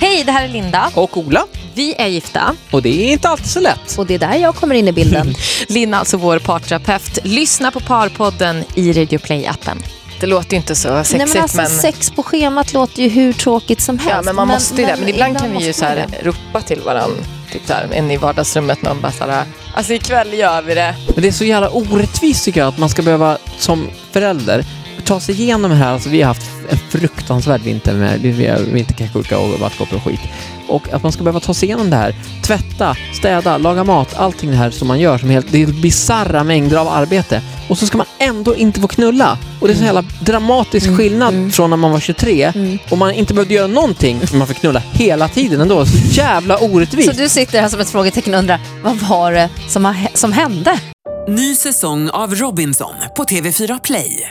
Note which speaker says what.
Speaker 1: Hej, det här är Linda.
Speaker 2: och Ola.
Speaker 1: Vi är gifta
Speaker 2: Och det är inte alltid så lätt.
Speaker 1: och det är där jag kommer in i bilden. Lina, alltså vår parterapeut. Lyssna på Parpodden i Radio Play-appen.
Speaker 3: Det låter ju inte så sexigt
Speaker 1: Nej, men alltså, Sex på schemat låter ju hur tråkigt som helst.
Speaker 3: ja, men man måste ju det. Men ibland kan vi ju
Speaker 1: måste
Speaker 3: så
Speaker 1: man
Speaker 3: här ropa till varandra. Typ så här, en i vardagsrummet, någon bara så här, alltså ikväll gör vi det.
Speaker 2: Men det är så jävla orättvist tycker jag att man ska behöva som förälder ta sig igenom det här. Alltså, vi har haft en fruktansvärd vinter med vi har vinterkräksjuka och vattkoppor och skit. Och att man ska behöva ta sig igenom det här. Tvätta, städa, laga mat, allting det här som man gör. Som helt, det är bisarra mängder av arbete. Och så ska man ändå inte få knulla. Och det är så jävla dramatisk skillnad från när man var 23 och man inte behövde göra någonting. Men man fick knulla hela tiden ändå. Så jävla orättvist.
Speaker 1: Så
Speaker 3: Mm.
Speaker 1: du sitter här som ett frågetecken och undrar, vad var det som, har, som hände?
Speaker 4: Ny säsong av Robinson på TV4 Play.